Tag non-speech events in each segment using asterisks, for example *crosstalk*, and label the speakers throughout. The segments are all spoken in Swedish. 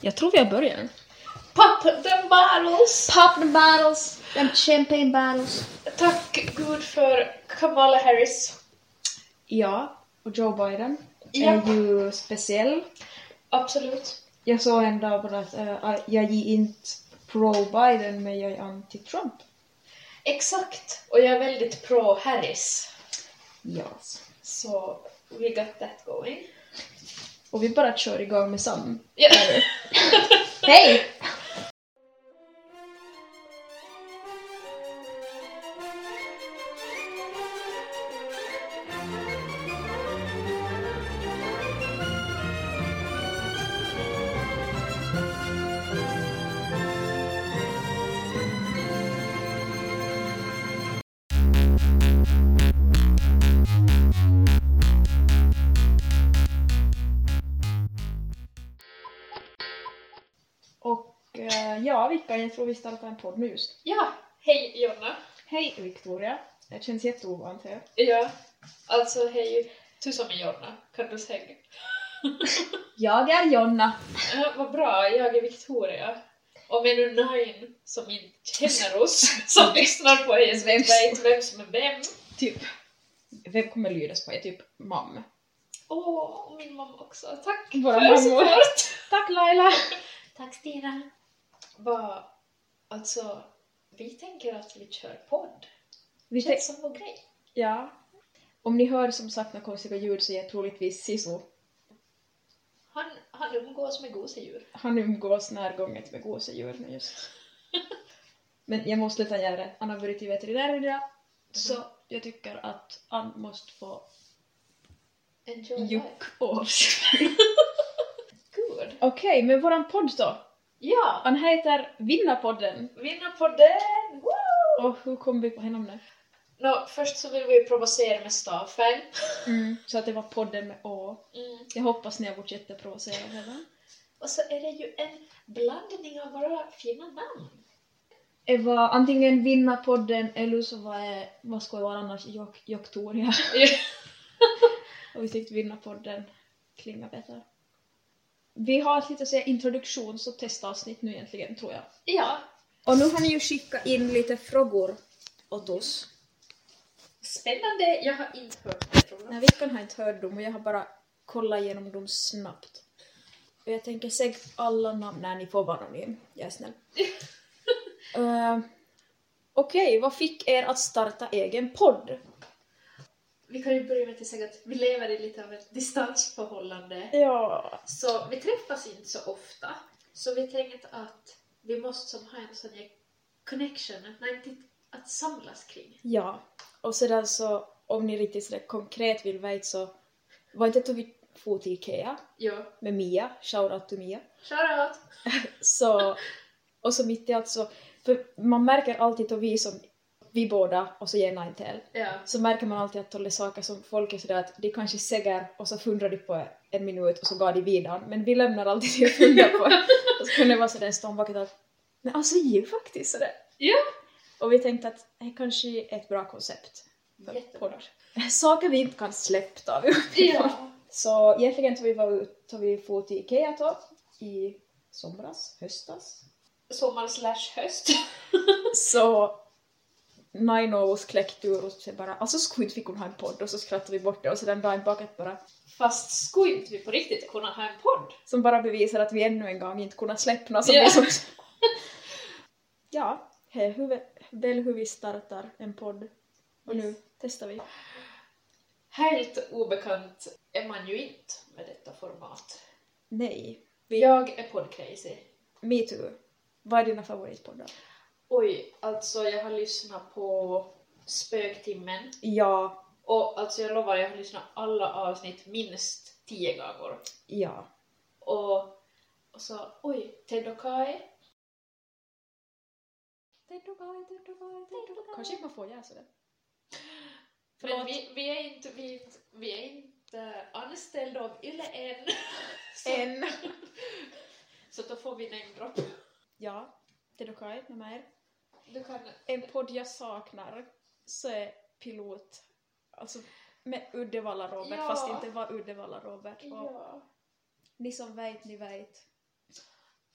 Speaker 1: Jag tror vi har börjat.
Speaker 2: Pop the bottles!
Speaker 3: Pop the bottles, them champagne bottles.
Speaker 2: Tack Gud för Kamala Harris.
Speaker 1: Ja, och Joe Biden
Speaker 2: Ja,
Speaker 1: är ju speciell.
Speaker 2: absolut.
Speaker 1: Jag såg en dag bara att eh, jag är inte pro-Biden men jag är anti-Trump.
Speaker 2: Exakt. Och jag är väldigt pro Harris.
Speaker 1: Yes.
Speaker 2: Så we got that going.
Speaker 1: Och vi bara kör igång med *laughs* Sam.
Speaker 2: Ja.
Speaker 3: Hej!
Speaker 1: Och eh, ja, Vicka, jag tror vi startar en podd med just.
Speaker 2: ja, hej Jonna.
Speaker 1: Hej Victoria! Det känns jätteovant här.
Speaker 2: Ja, alltså hej. Du som är Jonna, kan du säga?
Speaker 1: Jag är Jonna.
Speaker 2: Ja, vad bra, jag är Victoria. Och med nu nine som inte känner oss, som lyssnar på er, som
Speaker 1: Vem
Speaker 2: inte vet vem som är vem.
Speaker 1: Typ. Vem kommer lydas på er? Typ mamma.
Speaker 2: Åh, och min mamma också. Tack
Speaker 1: Våra
Speaker 2: för
Speaker 1: mammor.
Speaker 2: support!
Speaker 1: Tack Laila!
Speaker 3: Tack Stina.
Speaker 2: Vad, alltså, vi tänker att vi kör podd.
Speaker 1: Vi te-
Speaker 2: Känns som vår grej.
Speaker 1: ja. Om ni hör som sagt några konstiga ljud så är jag troligtvis Sisu.
Speaker 2: Han, han umgås med gosedjur.
Speaker 1: Han umgås närgånget med gosedjur nu just. *laughs* Men jag måste ta göra det. Han har varit till veterinär idag. Så jag tycker att han måste få
Speaker 2: Enjoy life.
Speaker 1: juck av sig.
Speaker 2: Gud.
Speaker 1: *laughs* Okej, men våran podd då?
Speaker 2: Ja,
Speaker 1: Han heter Vinnarpodden.
Speaker 2: vinnarpodden! Woo!
Speaker 1: Och hur kom vi på henne nu?
Speaker 2: Nå, först så vill vi provocera med stafen.
Speaker 1: Så att det var podden med Å.
Speaker 2: Mm.
Speaker 1: Jag hoppas ni har varit jätteprovocerade. va?
Speaker 2: Och så är det ju en blandning av våra fina namn.
Speaker 1: Det var antingen Vinnarpodden eller så var det, vad ska det vara annars, Jok- Joktoria. Och vi tyckte Vinnarpodden klingar bättre. Vi har ett litet så här introduktions och testavsnitt nu egentligen, tror jag.
Speaker 2: ja,
Speaker 1: Och nu har ni ju skickat in lite frågor åt oss.
Speaker 2: spännande. Jag har inte hört det frågan.
Speaker 1: Nej, Vickan har inte hört dem och jag har bara kollat igenom dem snabbt. Och jag tänker säga alla namn. Nej, ni får vara anonym. Jag är *laughs* snäll. Eh, Okej, vad fick er att starta egen podd?
Speaker 2: Vi kan ju börja med att säga att vi lever i lite av ett distansförhållande.
Speaker 1: Ja.
Speaker 2: Så vi träffas inte så ofta. Så vi tänkte att vi måste som ha en sån här connection, att, nej, inte att samlas kring.
Speaker 1: Ja. Och sedan så, om ni riktigt sådär konkret vill veta så var inte att vi for till Ikea
Speaker 2: Ja,
Speaker 1: med Mia, shoutout till Mia.
Speaker 2: shoutout!
Speaker 1: Så, och så mitt i allt så, för man märker alltid att vi som, vi båda och så Jenna inte heller.
Speaker 2: Ja.
Speaker 1: så märker man alltid att det är saker som folk är sådär att de kanske säger och så funderar de på en minut och så går de vidare. Men vi lämnar alltid det att fundera
Speaker 2: *laughs*
Speaker 1: på. och så kunde det vara sådär en stund bakåt att men alltså vi är ju faktiskt sådär.
Speaker 2: Ja.
Speaker 1: Och vi tänkte att det här kanske är ett bra koncept. för
Speaker 2: Jättebra.
Speaker 1: podd. *laughs* Saker vi inte kan släppa tar vi upp.
Speaker 2: Ja.
Speaker 1: *laughs* Så egentligen tog vi var ut, tog vi for till Ikea då, i somras, höstas.
Speaker 2: *laughs* Sommar slash höst.
Speaker 1: Så Nine av oss kläckte ur och så bara alltså Squid fick hon ha en podd och så skrattade vi bort det och så den dagen bakåt bara
Speaker 2: Fast skulle inte vi på riktigt kunna ha en podd?
Speaker 1: som bara bevisar att vi ännu en gång inte kunnat släppa något som
Speaker 2: Ja.
Speaker 1: vi som... Ja, här, hur, vi- väl hur vi startar en podd. Och nu
Speaker 2: Yes.
Speaker 1: testar vi.
Speaker 2: Helt obekant är man ju inte med detta format.
Speaker 1: Nej.
Speaker 2: Jag är poddcrazy.
Speaker 1: Me too. Vad är dina favoritpoddar?
Speaker 2: Oj, alltså jag har lyssnat på Spöktimmen
Speaker 1: Ja,
Speaker 2: och alltså jag lovar, jag har lyssnat alla avsnitt minst tio gånger.
Speaker 1: ja.
Speaker 2: Och, och så, oj, Ted och Kai.
Speaker 1: Kanske man får göra sådär.
Speaker 2: Men
Speaker 1: Förlåt.
Speaker 2: vi, vi är inte, vi, är inte- vi är inte anställda av Yle *laughs* än. Så,
Speaker 1: En.
Speaker 2: *laughs* så då får vi namedropp.
Speaker 1: Ja, det är okej med mig.
Speaker 2: Du kan...
Speaker 1: En podd jag saknar så är Pilot, alltså med Uddevalla-Robert
Speaker 2: Ja.
Speaker 1: fast det inte var Uddevalla-Robert. Och
Speaker 2: Ja.
Speaker 1: Ni som vet, ni vet.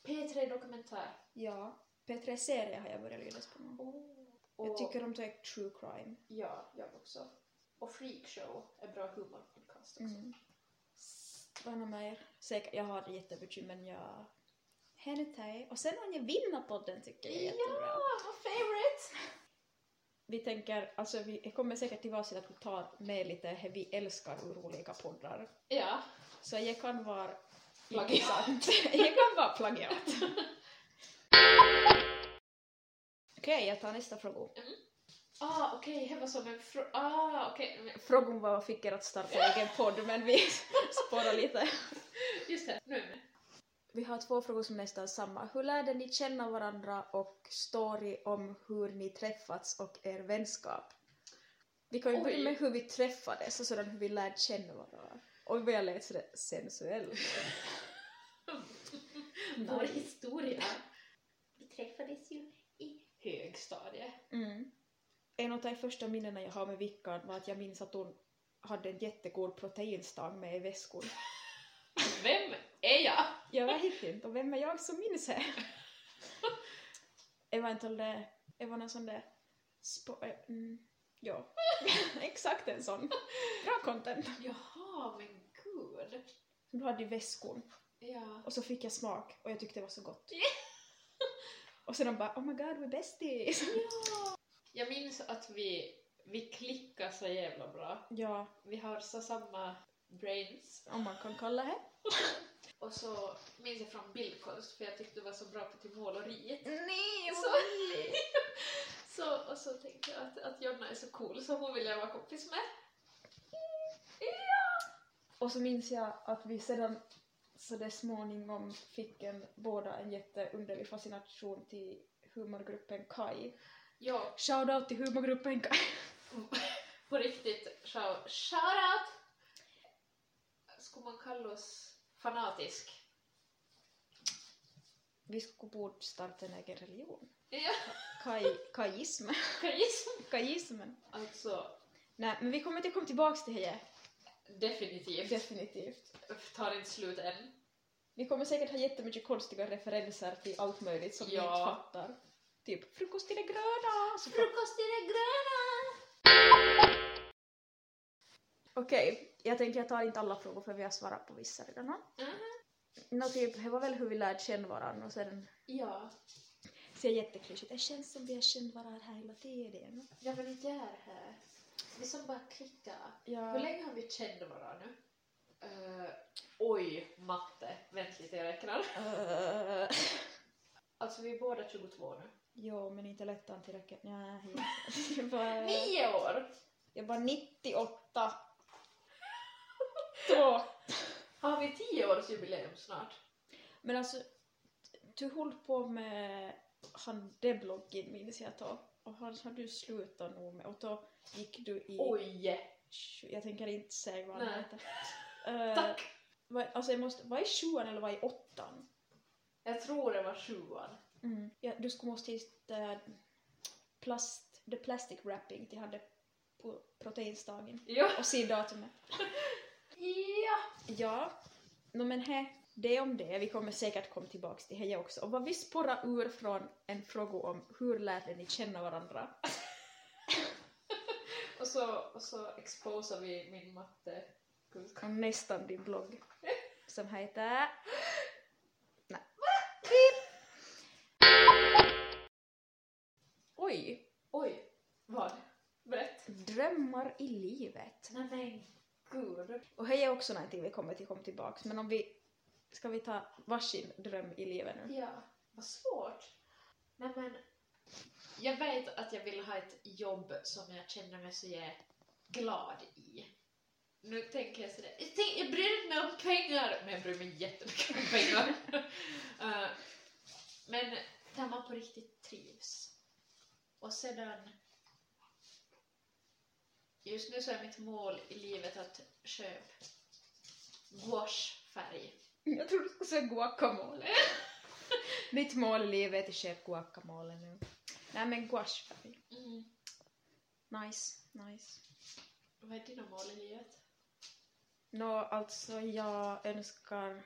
Speaker 2: P3 Dokumentär.
Speaker 1: Ja. P3 Serie har jag börjat lyda på nu.
Speaker 2: Oh. Och,
Speaker 1: Jag tycker om typ true crime.
Speaker 2: Ja, jag också. Och Freakshow är bra humorpodcast också.
Speaker 1: Mm. Vad är något mer? Säkert, jag har jättebekymmer men jag... Hentai. Och sen har jag vinnarpodden tycker jag är jättebra.
Speaker 2: Ja, vår favorite!
Speaker 1: Vi tänker, alltså vi kommer säkert tillbaka till att vi tar med lite hur vi älskar ur olika poddar.
Speaker 2: Ja, *laughs*
Speaker 1: Så jag kan vara...
Speaker 2: Plagiat.
Speaker 1: intressant. *laughs* jag kan vara plagiat. Okej, jag tar nästa fråga.
Speaker 2: Ah, okej, det var som en fråga. Ah, okej. men-
Speaker 1: Frågan var vad fick er att starta egen podd men vi *laughs* spårar lite.
Speaker 2: Just det, nu är jag med.
Speaker 1: Vi har två frågor som är nästan samma. Hur lärde ni känna varandra och story om hur ni träffats och er vänskap? Vi kan ju
Speaker 2: Oj.
Speaker 1: börja med hur vi träffades och sedan hur vi lärde känna varandra. Oj vad jag lät sådär sensuell.
Speaker 2: Vår
Speaker 1: Nice.
Speaker 2: historia.
Speaker 3: Vi träffades ju i...
Speaker 2: Högstadie.
Speaker 1: Mm. En av de första minnena jag har med Vickan var att jag minns att hon hade en jättegod proteinstang med i väskan.
Speaker 2: Vem är jag?
Speaker 1: Jag vet inte, och vem är jag som minns det? Det var inte all det... Det var någon sån där... Spo- eh, mm, ja, *laughs* exakt en sån. Bra content.
Speaker 2: Jaha, men gud.
Speaker 1: Du hade i väskor
Speaker 2: Ja.
Speaker 1: och så fick jag smak och jag tyckte det var så gott. Och sen de bara oh my god we're besties. *laughs*
Speaker 2: Jag minns att vi, vi klickar så jävla bra.
Speaker 1: Ja,
Speaker 2: Vi har så samma brains.
Speaker 1: om man kan kalla det.
Speaker 2: Och så minns jag från bildkonst, för jag tyckte du var så bra på till måleriet.
Speaker 1: Nej,
Speaker 2: Så, *laughs* så, och så tänkte jag att, att Jonna är så cool så hon vill jag vara kompis med.
Speaker 1: Och så minns jag att vi sedan så det småningom fick en, båda en jätteunderlig fascination till humorgruppen Kai.
Speaker 2: Ja,
Speaker 1: Shoutout till humorgruppen *laughs* Kai.
Speaker 2: på riktigt, shout, shoutout! Skulle man kalla oss fanatisk?
Speaker 1: Vi skulle borde starta en egen religion.
Speaker 2: Ja,
Speaker 1: Kai, *laughs* kajism.
Speaker 2: kan jag gissa.
Speaker 1: Kajismen.
Speaker 2: Alltså,
Speaker 1: Nej, men vi kommer till komma tillbaks till det.
Speaker 2: definitivt.
Speaker 1: Definitivt.
Speaker 2: Tar inte slut än.
Speaker 1: Vi kommer säkert ha jättemycket konstiga referenser till allt möjligt som vi
Speaker 2: Ja.
Speaker 1: inte fattar. Typ frukost till det gröna. Så fa-
Speaker 2: Frukost i det gröna!
Speaker 1: Okej, jag tänker jag tar inte alla frågor för vi har svarat på vissa redan. va?
Speaker 2: Mhm.
Speaker 1: Nå typ, det var väl hur vi lärde känna varandra och sedan
Speaker 2: Ja,
Speaker 1: ser jätteklyschigt. Det känns som vi har känt varandra här hela tiden.
Speaker 2: jag vill inte göra det här. Vi som bara klickar.
Speaker 1: *laughs*
Speaker 2: Hur
Speaker 1: Ja,
Speaker 2: länge har vi känt varandra nu? Eh, oj, matte. Vänta lite, jag räknar.
Speaker 1: uh,
Speaker 2: Alltså vi är båda 22 nu.
Speaker 1: jo, men inte lättan tillräckligt. Nej, *laughs* jag
Speaker 2: Eh.
Speaker 1: bara,
Speaker 2: Nio år!
Speaker 1: jag bara 98. Två.
Speaker 2: Har vi 10 års jubileum snart?
Speaker 1: Men alltså, du höll på med han den bloggen minns jag då. Och han har du slutat nog med. Och då gick du i...
Speaker 2: Oj!
Speaker 1: Jag tänker inte säga vad
Speaker 2: Nej.
Speaker 1: han
Speaker 2: *laughs*
Speaker 1: heter. Eh,
Speaker 2: Tack!
Speaker 1: vad, alltså jag måste, vad är sjuan eller vad är åttan?
Speaker 2: Jag tror det var sjuan. Mm.
Speaker 1: Ja, du skulle måste hitta plast, the plastic wrapping till hade på proteinsdagen.
Speaker 2: Ja!
Speaker 1: Och se datumet.
Speaker 2: Ja!
Speaker 1: Ja, no, men he, det om det. Vi kommer säkert komma tillbaks till heja också. Och vad vi sporrar ur från en fråga om hur lärde ni känna varandra?
Speaker 2: Och så, och så exposar vi min matte.
Speaker 1: Och nästan din blogg. Som heter... Nej. Oj!
Speaker 2: Oj! Vad? Berätt.
Speaker 1: Drömmar i livet.
Speaker 2: Nej men gud.
Speaker 1: Och hej är också någonting vi kommer till komma tillbaks. Men om vi... Ska vi ta varsin dröm i livet nu?
Speaker 2: Ja, vad svårt. Nej men, jag vet att jag vill ha ett jobb som jag känner mig så jag är glad i. Nu tänker jag sådär, jag, tänk, jag bryr mig inte om pengar, men jag bryr mig jättemycket om *laughs* pengar. Eh, men där man på riktigt trivs. Och sedan, just nu så är mitt mål i livet att köpa gouachefärg.
Speaker 1: Jag tror du skulle säga guacamole. *laughs* Mitt mål i livet är att köpa guacamole nu. Nej men guachefärg.
Speaker 2: Mm.
Speaker 1: Nice, nice.
Speaker 2: Vad är dina mål i livet?
Speaker 1: Nå, alltså jag önskar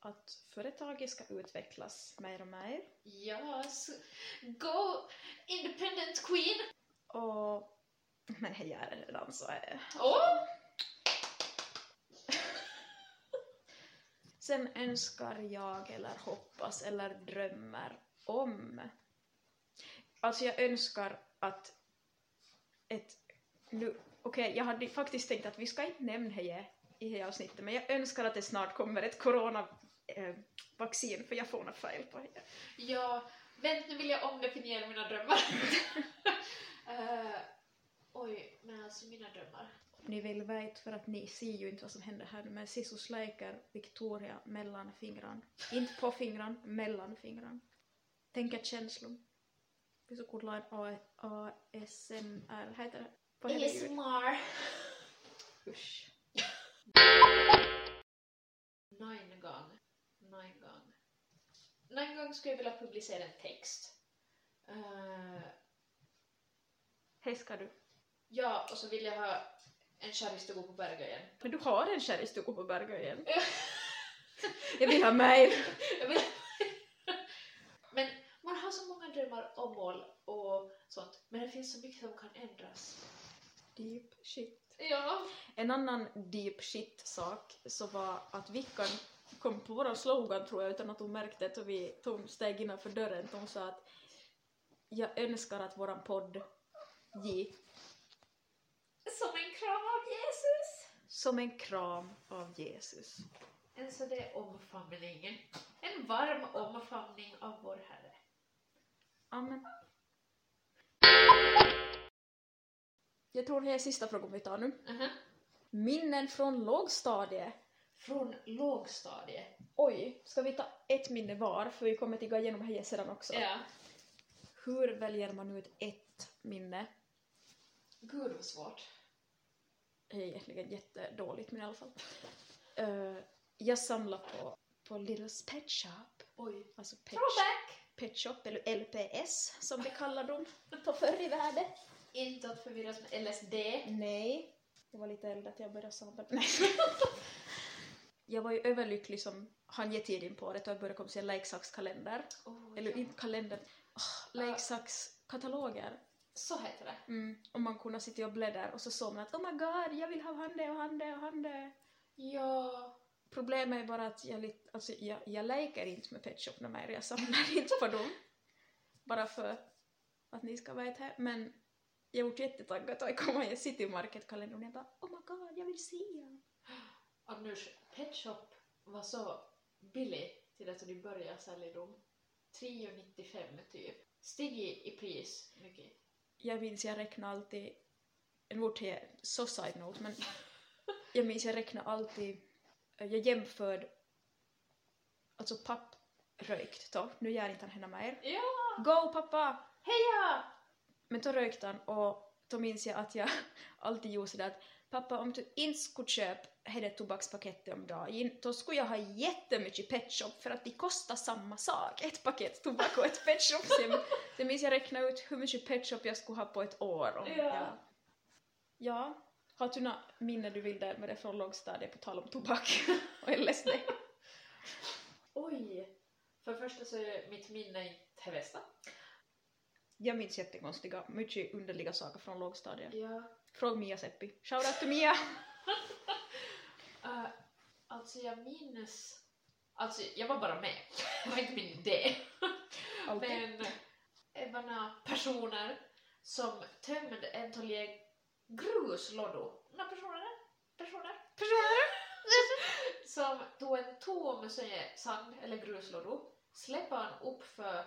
Speaker 1: att företaget ska utvecklas mer och mer.
Speaker 2: Yes. Go independent queen!
Speaker 1: Och... *laughs* Men jag gör det redan så... eh.
Speaker 2: Åh!
Speaker 1: Sen önskar jag eller hoppas eller drömmer om... Alltså jag önskar att ett... Nu, okej, jag hade faktiskt tänkt att vi ska inte nämna det i det här avsnittet, men jag önskar att det snart kommer ett coronavaccin, för jag får något fel på det.
Speaker 2: Ja, vänta nu vill jag omdefiniera mina drömmar. Eh, oj, men alltså mina drömmar.
Speaker 1: Ni vill veta för att ni ser ju inte vad som händer här men Sisu släker Victoria mellan fingrarna. Inte på fingrarna, mellan fingrarna. Tänk er känslan. Vi ska kolla en A- ASMR, heter det? På hela djuret.
Speaker 2: ASMR.
Speaker 1: Usch.
Speaker 2: Nine gång. Nine gång. Nine gång skulle jag vilja publicera en text. Eh,
Speaker 1: Hej ska du.
Speaker 2: ja, och så vill jag ha en sherry stå på Bergöjen.
Speaker 1: Men du har en kär i Storberga igen. Jag vill ha *laughs* mer.
Speaker 2: Jag vill- *laughs* Men man har så många drömmar och mål och sånt, men det finns så mycket som kan ändras.
Speaker 1: Deep shit.
Speaker 2: Ja.
Speaker 1: En annan deep shit sak så var att Vickan kom på våran slogan tror jag utan att hon märkte det så vi tog steg innanför dörren och hon sa att jag önskar att våran podd ge
Speaker 2: Som en kram av Jesus.
Speaker 1: som en kram av Jesus.
Speaker 2: En sådär omfamning. En varm omfamning av vår Herre.
Speaker 1: Amen. Jag tror det är sista frågan vi tar nu.
Speaker 2: Mhm.
Speaker 1: Minnen från lågstadiet.
Speaker 2: Från lågstadiet.
Speaker 1: Oj, ska vi ta ett minne var för vi kommer att gå igenom här sedan också.
Speaker 2: Ja.
Speaker 1: Hur väljer man ut ett minne?
Speaker 2: Gud vad svårt.
Speaker 1: är egentligen jättedåligt men i alla fall. Eh, jag samlar på, på Littles Pet Shop,
Speaker 2: Oj.
Speaker 1: alltså Pet,
Speaker 2: Throwback!
Speaker 1: Pet Shop eller LPS som vi kallar dem på förr i världen.
Speaker 2: Inte att förvirras med LSD.
Speaker 1: Nej, jag var lite äldre att jag började samla. Nej. *laughs* jag var ju överlycklig som han ge tiden på det och jag började komma till en leksakskalender.
Speaker 2: Oh,
Speaker 1: Eller
Speaker 2: ja.
Speaker 1: inte kalender, oh, leksakskataloger.
Speaker 2: Så heter det.
Speaker 1: Mm. Och man kunde sitta och bläddra och så såg man att oh my god, jag vill ha han det och han det och han det.
Speaker 2: Ja.
Speaker 1: Problemet är bara att jag, lite, alltså, jag, jag leker inte med Pet Shop när mer, *laughs* jag samlar inte på dem. Bara för att ni ska veta här. Men jag vart jättetaggad och jag kom ihåg City Market-kalendern och jag bara oh my god, jag vill se den.
Speaker 2: Och nu, Pet Shop var så billig till att du började sälja dem. 3,95 typ. Stig i, i pris mycket.
Speaker 1: Jag minns jag räknade alltid, en vart är så side note men jag minns jag räknade alltid, eh, jag jämförde alltså papprökt då, nu gör inte han henne mer.
Speaker 2: Ja!
Speaker 1: Go pappa!
Speaker 2: Heja!
Speaker 1: Men då rökte han och då minns jag att jag *laughs* alltid gjorde sådär att pappa om du inte skulle köpa hela tobakspaketet om dagen då skulle jag ha jättemycket petshop för att de kostar samma sak. Ett paket tobak och ett petshop. Sen, sen minns jag räkna ut hur mycket petshop jag skulle ha på ett år. Om
Speaker 2: Ja.
Speaker 1: Jag... ja. Har du några minnen du vill där med det från lågstadiet på tal om tobak *laughs* och LSD?
Speaker 2: Oj! För det första så är mitt minne inte det bästa.
Speaker 1: Jag minns jättekonstiga, mycket underliga saker från lågstadiet.
Speaker 2: Ja.
Speaker 1: Fråga Mia Seppi. Shoutout till Mia!
Speaker 2: Eh, alltså jag minns... Alltså jag var bara med. *laughs* Det var inte min idé.
Speaker 1: Alltid.
Speaker 2: Men eh, det var några personer som tömde en tolje gruslådor. Några personer? Personer? Personer! som tog en tom som är sand eller gruslådor, släppte han upp för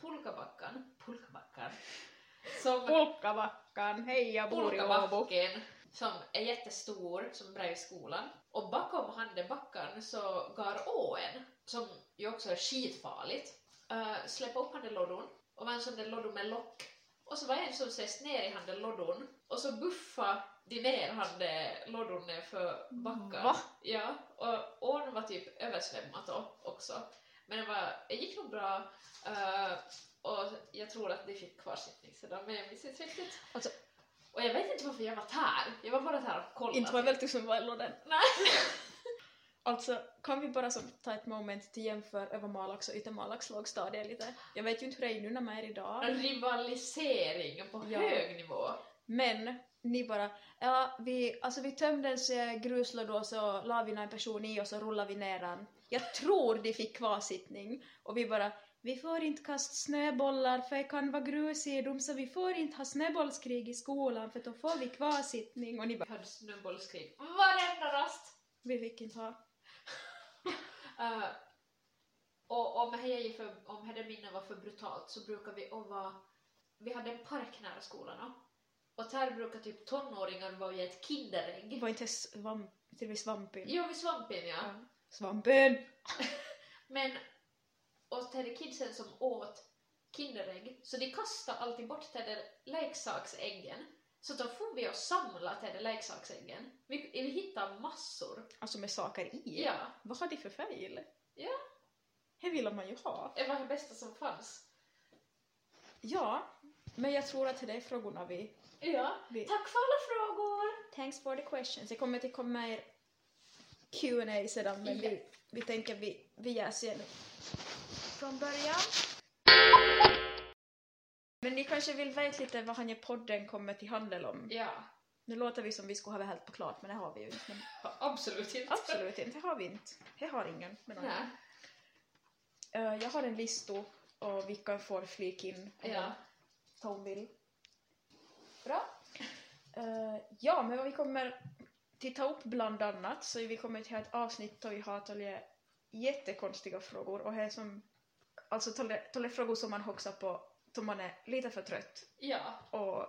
Speaker 2: pulkabackan. Pulkabackan? Som
Speaker 1: Polkavackan, hej jag bor i Åbo.
Speaker 2: Polkabacken som är jättestor, som är bredvid skolan. Och bakom han den backen så går åen, som ju också är skitfarligt. Uh, släppa upp han den lådon, och var en sån där lådon med lock. Och så var en som ses ner i han den lådon, och så buffa de ner han den lådon ner för backen.
Speaker 1: Va?
Speaker 2: Ja, och ån var typ översvämmat då också. Men det, var, det gick nog bra. eh, och jag tror att de fick kvarsittning sedan, men jag minns inte riktigt.
Speaker 1: Alltså-
Speaker 2: Och jag vet inte varför jag var där. Jag var bara där och kollade.
Speaker 1: Inte var väl du som var i lådan?
Speaker 2: Nej.
Speaker 1: Alltså, kan vi bara som ta ett moment till jämför Övermarlax och Yttermarlax lågstadie lite? Jag vet ju inte hur Einunnama är idag,
Speaker 2: Rivalisering på
Speaker 1: Ja.
Speaker 2: hög nivå.
Speaker 1: men ni bara ja, vi, alltså vi tömde en eh, gruslåda och så la vi en person i och så rullade vi ner den. Jag tror de fick kvarsittning och vi bara vi får inte kasta snöbollar för det kan vara grus i dem så vi får inte ha snöbollskrig i skolan för då får vi kvarsittning och ni bara
Speaker 2: Vi hade snöbollskrig varenda rast. *laughs*
Speaker 1: vi fick inte ha.
Speaker 2: Eh, och om det, för, om det minne var för brutalt så brukar vi att vara... Vi hade en park nära skolan. ja. Och där brukar typ tonåringar vara i ett kinderägg.
Speaker 1: Var inte svamp, till och med svampen?
Speaker 2: Jo, vid svampen ja.
Speaker 1: Ja. Svampen!
Speaker 2: Men... Och till de kidsen som åt kinderägg, så de kastade alltid bort till de leksaksäggen. Så då får vi och samla till de leksaksäggen. Vi, vi hittar massor.
Speaker 1: Alltså med saker i?
Speaker 2: Ja.
Speaker 1: Vad har de för färg?
Speaker 2: Ja.
Speaker 1: Det vill man ju ha.
Speaker 2: Det var det bästa som fanns.
Speaker 1: Ja, men jag tror att det är frågorna vi...
Speaker 2: Ja.
Speaker 1: vi...
Speaker 2: Tack för alla frågor!
Speaker 1: Thanks for the questions. Det kommer till komma mer Q&A sedan, men vi, vi tänker vi, vi jäser igen från början. Men ni kanske vill veta lite vad han i podden kommer till handel om?
Speaker 2: Ja,
Speaker 1: Nu låter vi som vi skulle ha det helt på klart, men det har vi ju inte. Men
Speaker 2: *laughs* absolut inte. *laughs*
Speaker 1: absolut inte, det har vi inte. Det har ingen. Men
Speaker 2: Nej.
Speaker 1: Eh, jag har en lista och vilka får flika in om
Speaker 2: Ja.
Speaker 1: de vill. Bra. Eh, ja, men vad vi kommer titta upp bland annat så vi kommer till ett avsnitt där vi har talat jättekonstiga frågor och här som alltså talat talat frågor som man hoxar på då man är lite för trött
Speaker 2: Ja,
Speaker 1: och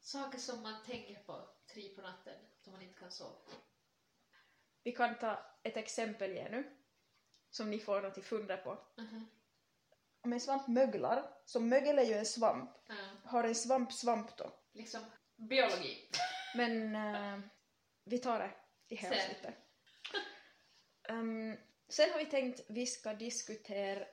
Speaker 2: saker som man tänker på tre på natten som man inte kan sova.
Speaker 1: vi kan ta ett exempel igen nu som ni får något att fundera på.
Speaker 2: Mhm.
Speaker 1: Om en svamp möglar, så mögel är ju en svamp.
Speaker 2: Ja.
Speaker 1: Har en svamp svamp då?
Speaker 2: Liksom biologi.
Speaker 1: Men eh, vi tar det i
Speaker 2: Sen.
Speaker 1: avsnittet. Ehm, sen har vi tänkt vi ska diskutera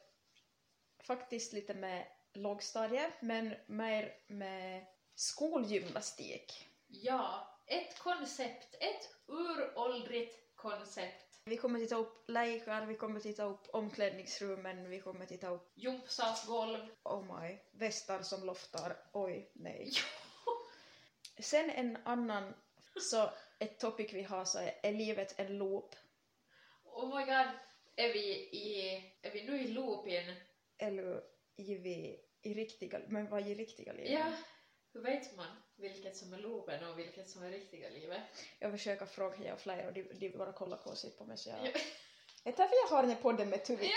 Speaker 1: faktiskt lite med lågstadiet men mer med skolgymnastik.
Speaker 2: Ja, ett koncept. Ett uråldrigt koncept.
Speaker 1: Vi kommer titta upp lekar, vi kommer titta upp omklädningsrummen, vi kommer titta upp
Speaker 2: Jumpsalsgolv.
Speaker 1: oh my, västar som loftar, oj nej. Sen en annan, så ett topic vi har så är, är livet en loop?
Speaker 2: Oh my god. Är vi, i, är vi nu i loopin?
Speaker 1: eller i, vi, i riktiga, men vad är riktiga livet?
Speaker 2: Ja. Hur vet man vilket som är loopen och vilket som är riktiga livet?
Speaker 1: Jag försöker fråga henne och flera och de, de bara kollar konstigt på mig så jag...
Speaker 2: Ja.
Speaker 1: Det är därför jag har den här podden med Tuvika.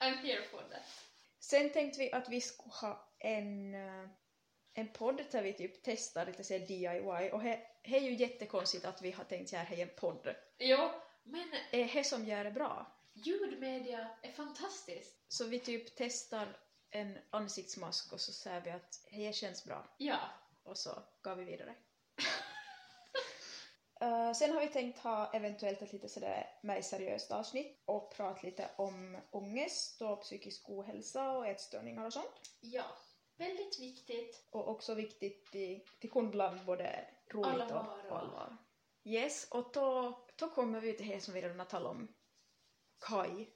Speaker 2: I'm here for that.
Speaker 1: Sen tänkte vi att vi skulle ha en, eh, en podd där vi typ testar lite så här DIY och he- det är ju jättekonstigt att vi har tänkt göra det i en podd.
Speaker 2: Jo, men
Speaker 1: Det är det som gör det bra.
Speaker 2: ljudmedia är fantastiskt.
Speaker 1: Så vi typ testar en ansiktsmask och så säger vi att det känns bra.
Speaker 2: Ja.
Speaker 1: och så gav vi vidare. *laughs* Eh, sen har vi tänkt ha eventuellt ett lite sådär mer seriöst avsnitt och prata lite om ångest och psykisk ohälsa och ätstörningar och sånt.
Speaker 2: Ja, väldigt viktigt.
Speaker 1: Och också viktigt, i- det kunde bland både roligt och
Speaker 2: Allvar och-
Speaker 1: och allvar. Yes, och då, då kommer vi till det som vi redan har talat om. Kaj.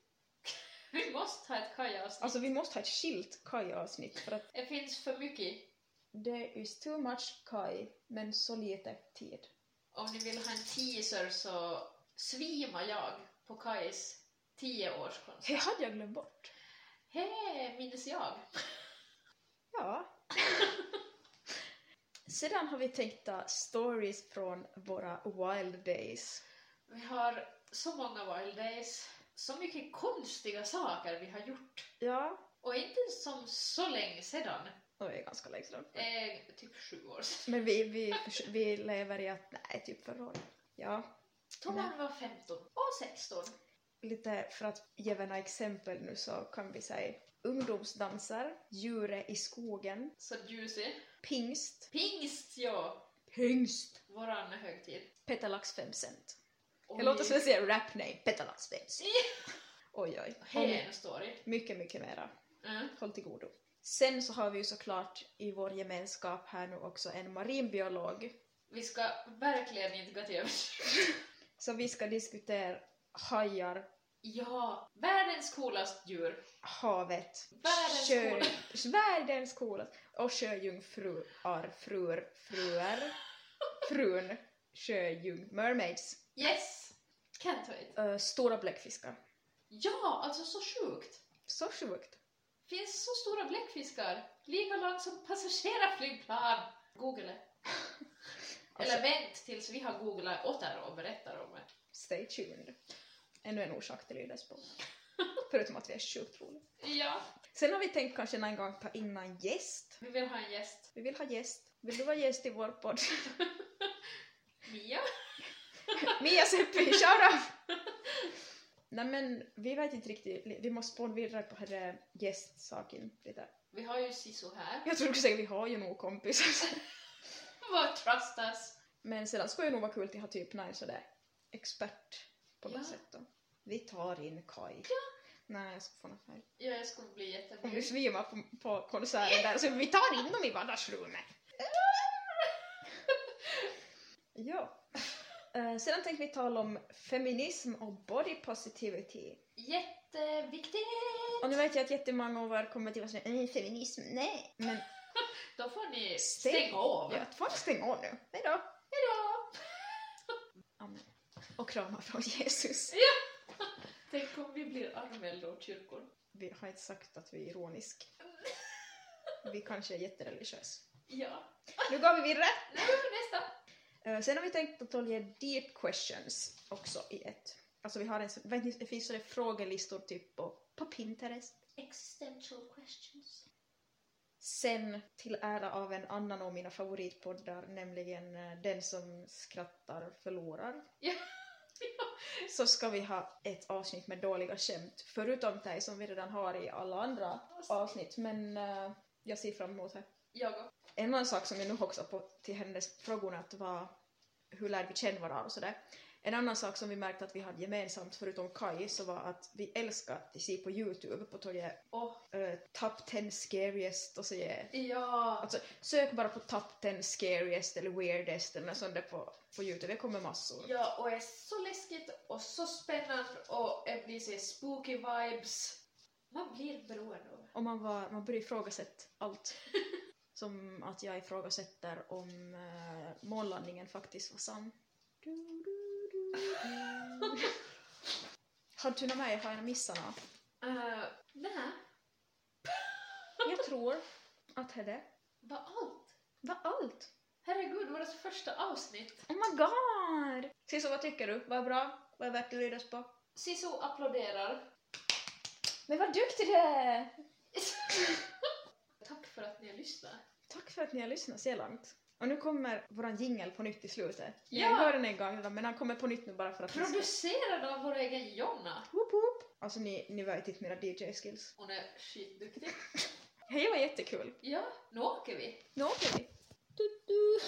Speaker 2: Vi måste ha ett kajavsnitt.
Speaker 1: Alltså vi måste ha ett skilt kaj-avsnitt för att
Speaker 2: det finns för mycket.
Speaker 1: there is too much kaj men så lite tid.
Speaker 2: Om ni vill ha en teaser så svimar jag på Kajs tioårskonsert.
Speaker 1: Det hade jag glömt bort.
Speaker 2: Hej, minns jag.
Speaker 1: Ja. *laughs* Sedan har vi tänkt ta stories från våra wild days.
Speaker 2: Vi har så många wild days. Så mycket konstiga saker vi har gjort.
Speaker 1: Ja.
Speaker 2: Och inte som så länge sedan.
Speaker 1: Och det är ganska länge sedan.
Speaker 2: Eh, typ sju år sedan.
Speaker 1: Men vi, vi, förs- vi lever i att, nej, typ förra året. Ja.
Speaker 2: Då
Speaker 1: Mm.
Speaker 2: man var 15 och 16.
Speaker 1: Lite för att ge några exempel nu så kan vi säga ungdomsdanser, djure i skogen,
Speaker 2: Så juicy.
Speaker 1: pingst,
Speaker 2: Pingst, ja.
Speaker 1: pingst,
Speaker 2: Våran högtid.
Speaker 1: petalax 5 cent.
Speaker 2: Oj.
Speaker 1: Det låter som att säga rap-name, petalax 5 cent. *laughs* Oj oj.
Speaker 2: Här är en story.
Speaker 1: Mycket, mycket mera.
Speaker 2: Mm.
Speaker 1: Håll till godo. Sen så har vi ju såklart i vår gemenskap här nu också en marinbiolog.
Speaker 2: Vi ska verkligen inte gå till överdrift.
Speaker 1: Så vi ska diskutera hajar,
Speaker 2: *laughs* Ja, världens coolaste djur.
Speaker 1: havet,
Speaker 2: Världens
Speaker 1: *laughs* världens coolaste och sjöjungfruar, fruar, fruar, frun, sjöjung, mermaids,
Speaker 2: Yes! Can't wait.
Speaker 1: eh, stora bläckfiskar.
Speaker 2: Ja, alltså så sjukt.
Speaker 1: Så sjukt.
Speaker 2: Finns så stora bläckfiskar, lika långt som passagerarflygplan. *laughs* Googla.
Speaker 1: Alltså-
Speaker 2: Eller vänt tills vi har googlat åt er och berättar om det.
Speaker 1: Stay tuned. Ännu en orsak till Ylesbo. Förutom att vi är sjukt roliga.
Speaker 2: Ja,
Speaker 1: Sen har vi tänkt kanske en gång ta in en gäst.
Speaker 2: vi vill ha en gäst.
Speaker 1: Vi vill ha gäst. Vill du vara gäst i vår podd? *laughs*
Speaker 2: Mia?
Speaker 1: Mia Seppi, shoutout! Nej men vi vet inte riktigt, vi måste spåna vidare på den här gästsaken lite.
Speaker 2: Vi har ju Sisu här.
Speaker 1: Jag tror du säga vi har ju nog kompisar. *laughs*
Speaker 2: Vad trust us.
Speaker 1: Men sedan skulle det nog vara kul att ha typ någon sådär expert på något
Speaker 2: Ja.
Speaker 1: sätt då. Vi tar in Kai. Nej, jag ska få något fel.
Speaker 2: Ja, jag skulle bli
Speaker 1: Om vi
Speaker 2: jättemjuk.
Speaker 1: svimmar på, på konserten där så vi tar in dem i vardagsrummet. ja. Eh, sedan tänkte vi tala om feminism och body positivity.
Speaker 2: Jätteviktigt!
Speaker 1: Och nu vet jag att jättemånga av er kommer till att säga "Mm, feminism, nej. Men
Speaker 2: Då får
Speaker 1: Stäng-
Speaker 2: ni stänga av.
Speaker 1: ja, folk stäng av nu. Hejdå.
Speaker 2: Hejdå! *laughs*
Speaker 1: Amen. Och kramar från Jesus.
Speaker 2: Tänk om vi blir anmälda åt kyrkor.
Speaker 1: Vi har inte sagt att vi är *laughs* ironisk. Vi kanske är jättereligiösa.
Speaker 2: Ja.
Speaker 1: Nu går vi vidare.
Speaker 2: Nu går vi nästa.
Speaker 1: Eh, Sen har vi tänkt att ta lite deep questions också i ett. Alltså vi har en, sån- vet ni, det finns sådana frågelistor typ på, på Pinterest.
Speaker 3: Existential questions.
Speaker 1: Sen till ära av en annan av mina favoritpoddar, nämligen eh, Den som skrattar förlorar.
Speaker 2: Ja. *laughs*
Speaker 1: Så ska vi ha ett avsnitt med dåliga skämt, förutom dig som vi redan har i alla andra avsnitt. Men eh, jag ser fram emot det.
Speaker 2: Jag och
Speaker 1: En annan sak som jag nu också på till hennes frågorna att var hur lär vi känna varandra och sådär. En annan sak som vi märkte att vi hade gemensamt förutom Kai så var att vi älskar att se på Youtube på tolje
Speaker 2: Åh,
Speaker 1: uh, Top 10 Scariest och så är
Speaker 2: ja.
Speaker 1: Alltså sök bara på Top 10 Scariest eller Weirdest eller något sånt där på, på Youtube, det kommer massor.
Speaker 2: Ja, och är så läskigt och så spännande och det blir så spooky vibes. Man blir beroende av
Speaker 1: Och man, var, man börjar ifrågasätta allt. Som att jag ifrågasätter om eh, månlandningen faktiskt var *laughs* sann. Du, du, du, du. Har du något med? Har jag missat något?
Speaker 2: uh, Nej,
Speaker 1: Jag tror att det är det
Speaker 2: vad allt.
Speaker 1: var allt.
Speaker 2: Herregud, vårt första avsnitt.
Speaker 1: Oh my god! Sisu, vad tycker du? Vad är bra? Vad är värt att lydas på?
Speaker 2: Sisu applåderar. *laughs*
Speaker 1: Men vad duktig du är!
Speaker 2: Tack för att ni har lyssnat.
Speaker 1: Tack för att ni har lyssnat så långt. Och nu kommer våran jingel på nytt i slutet.
Speaker 2: Ja!
Speaker 1: Jag hör den en gång redan men han kommer på nytt nu bara för att... ni ska-
Speaker 2: Producerad av vår egen Jonna.
Speaker 1: Woop woop. Alltså ni, ni vet inte mina DJ-skills.
Speaker 2: Hon är skitduktig.
Speaker 1: Hej, det var jättekul.
Speaker 2: Ja, nu åker vi.
Speaker 1: Nu åker vi. Du, du.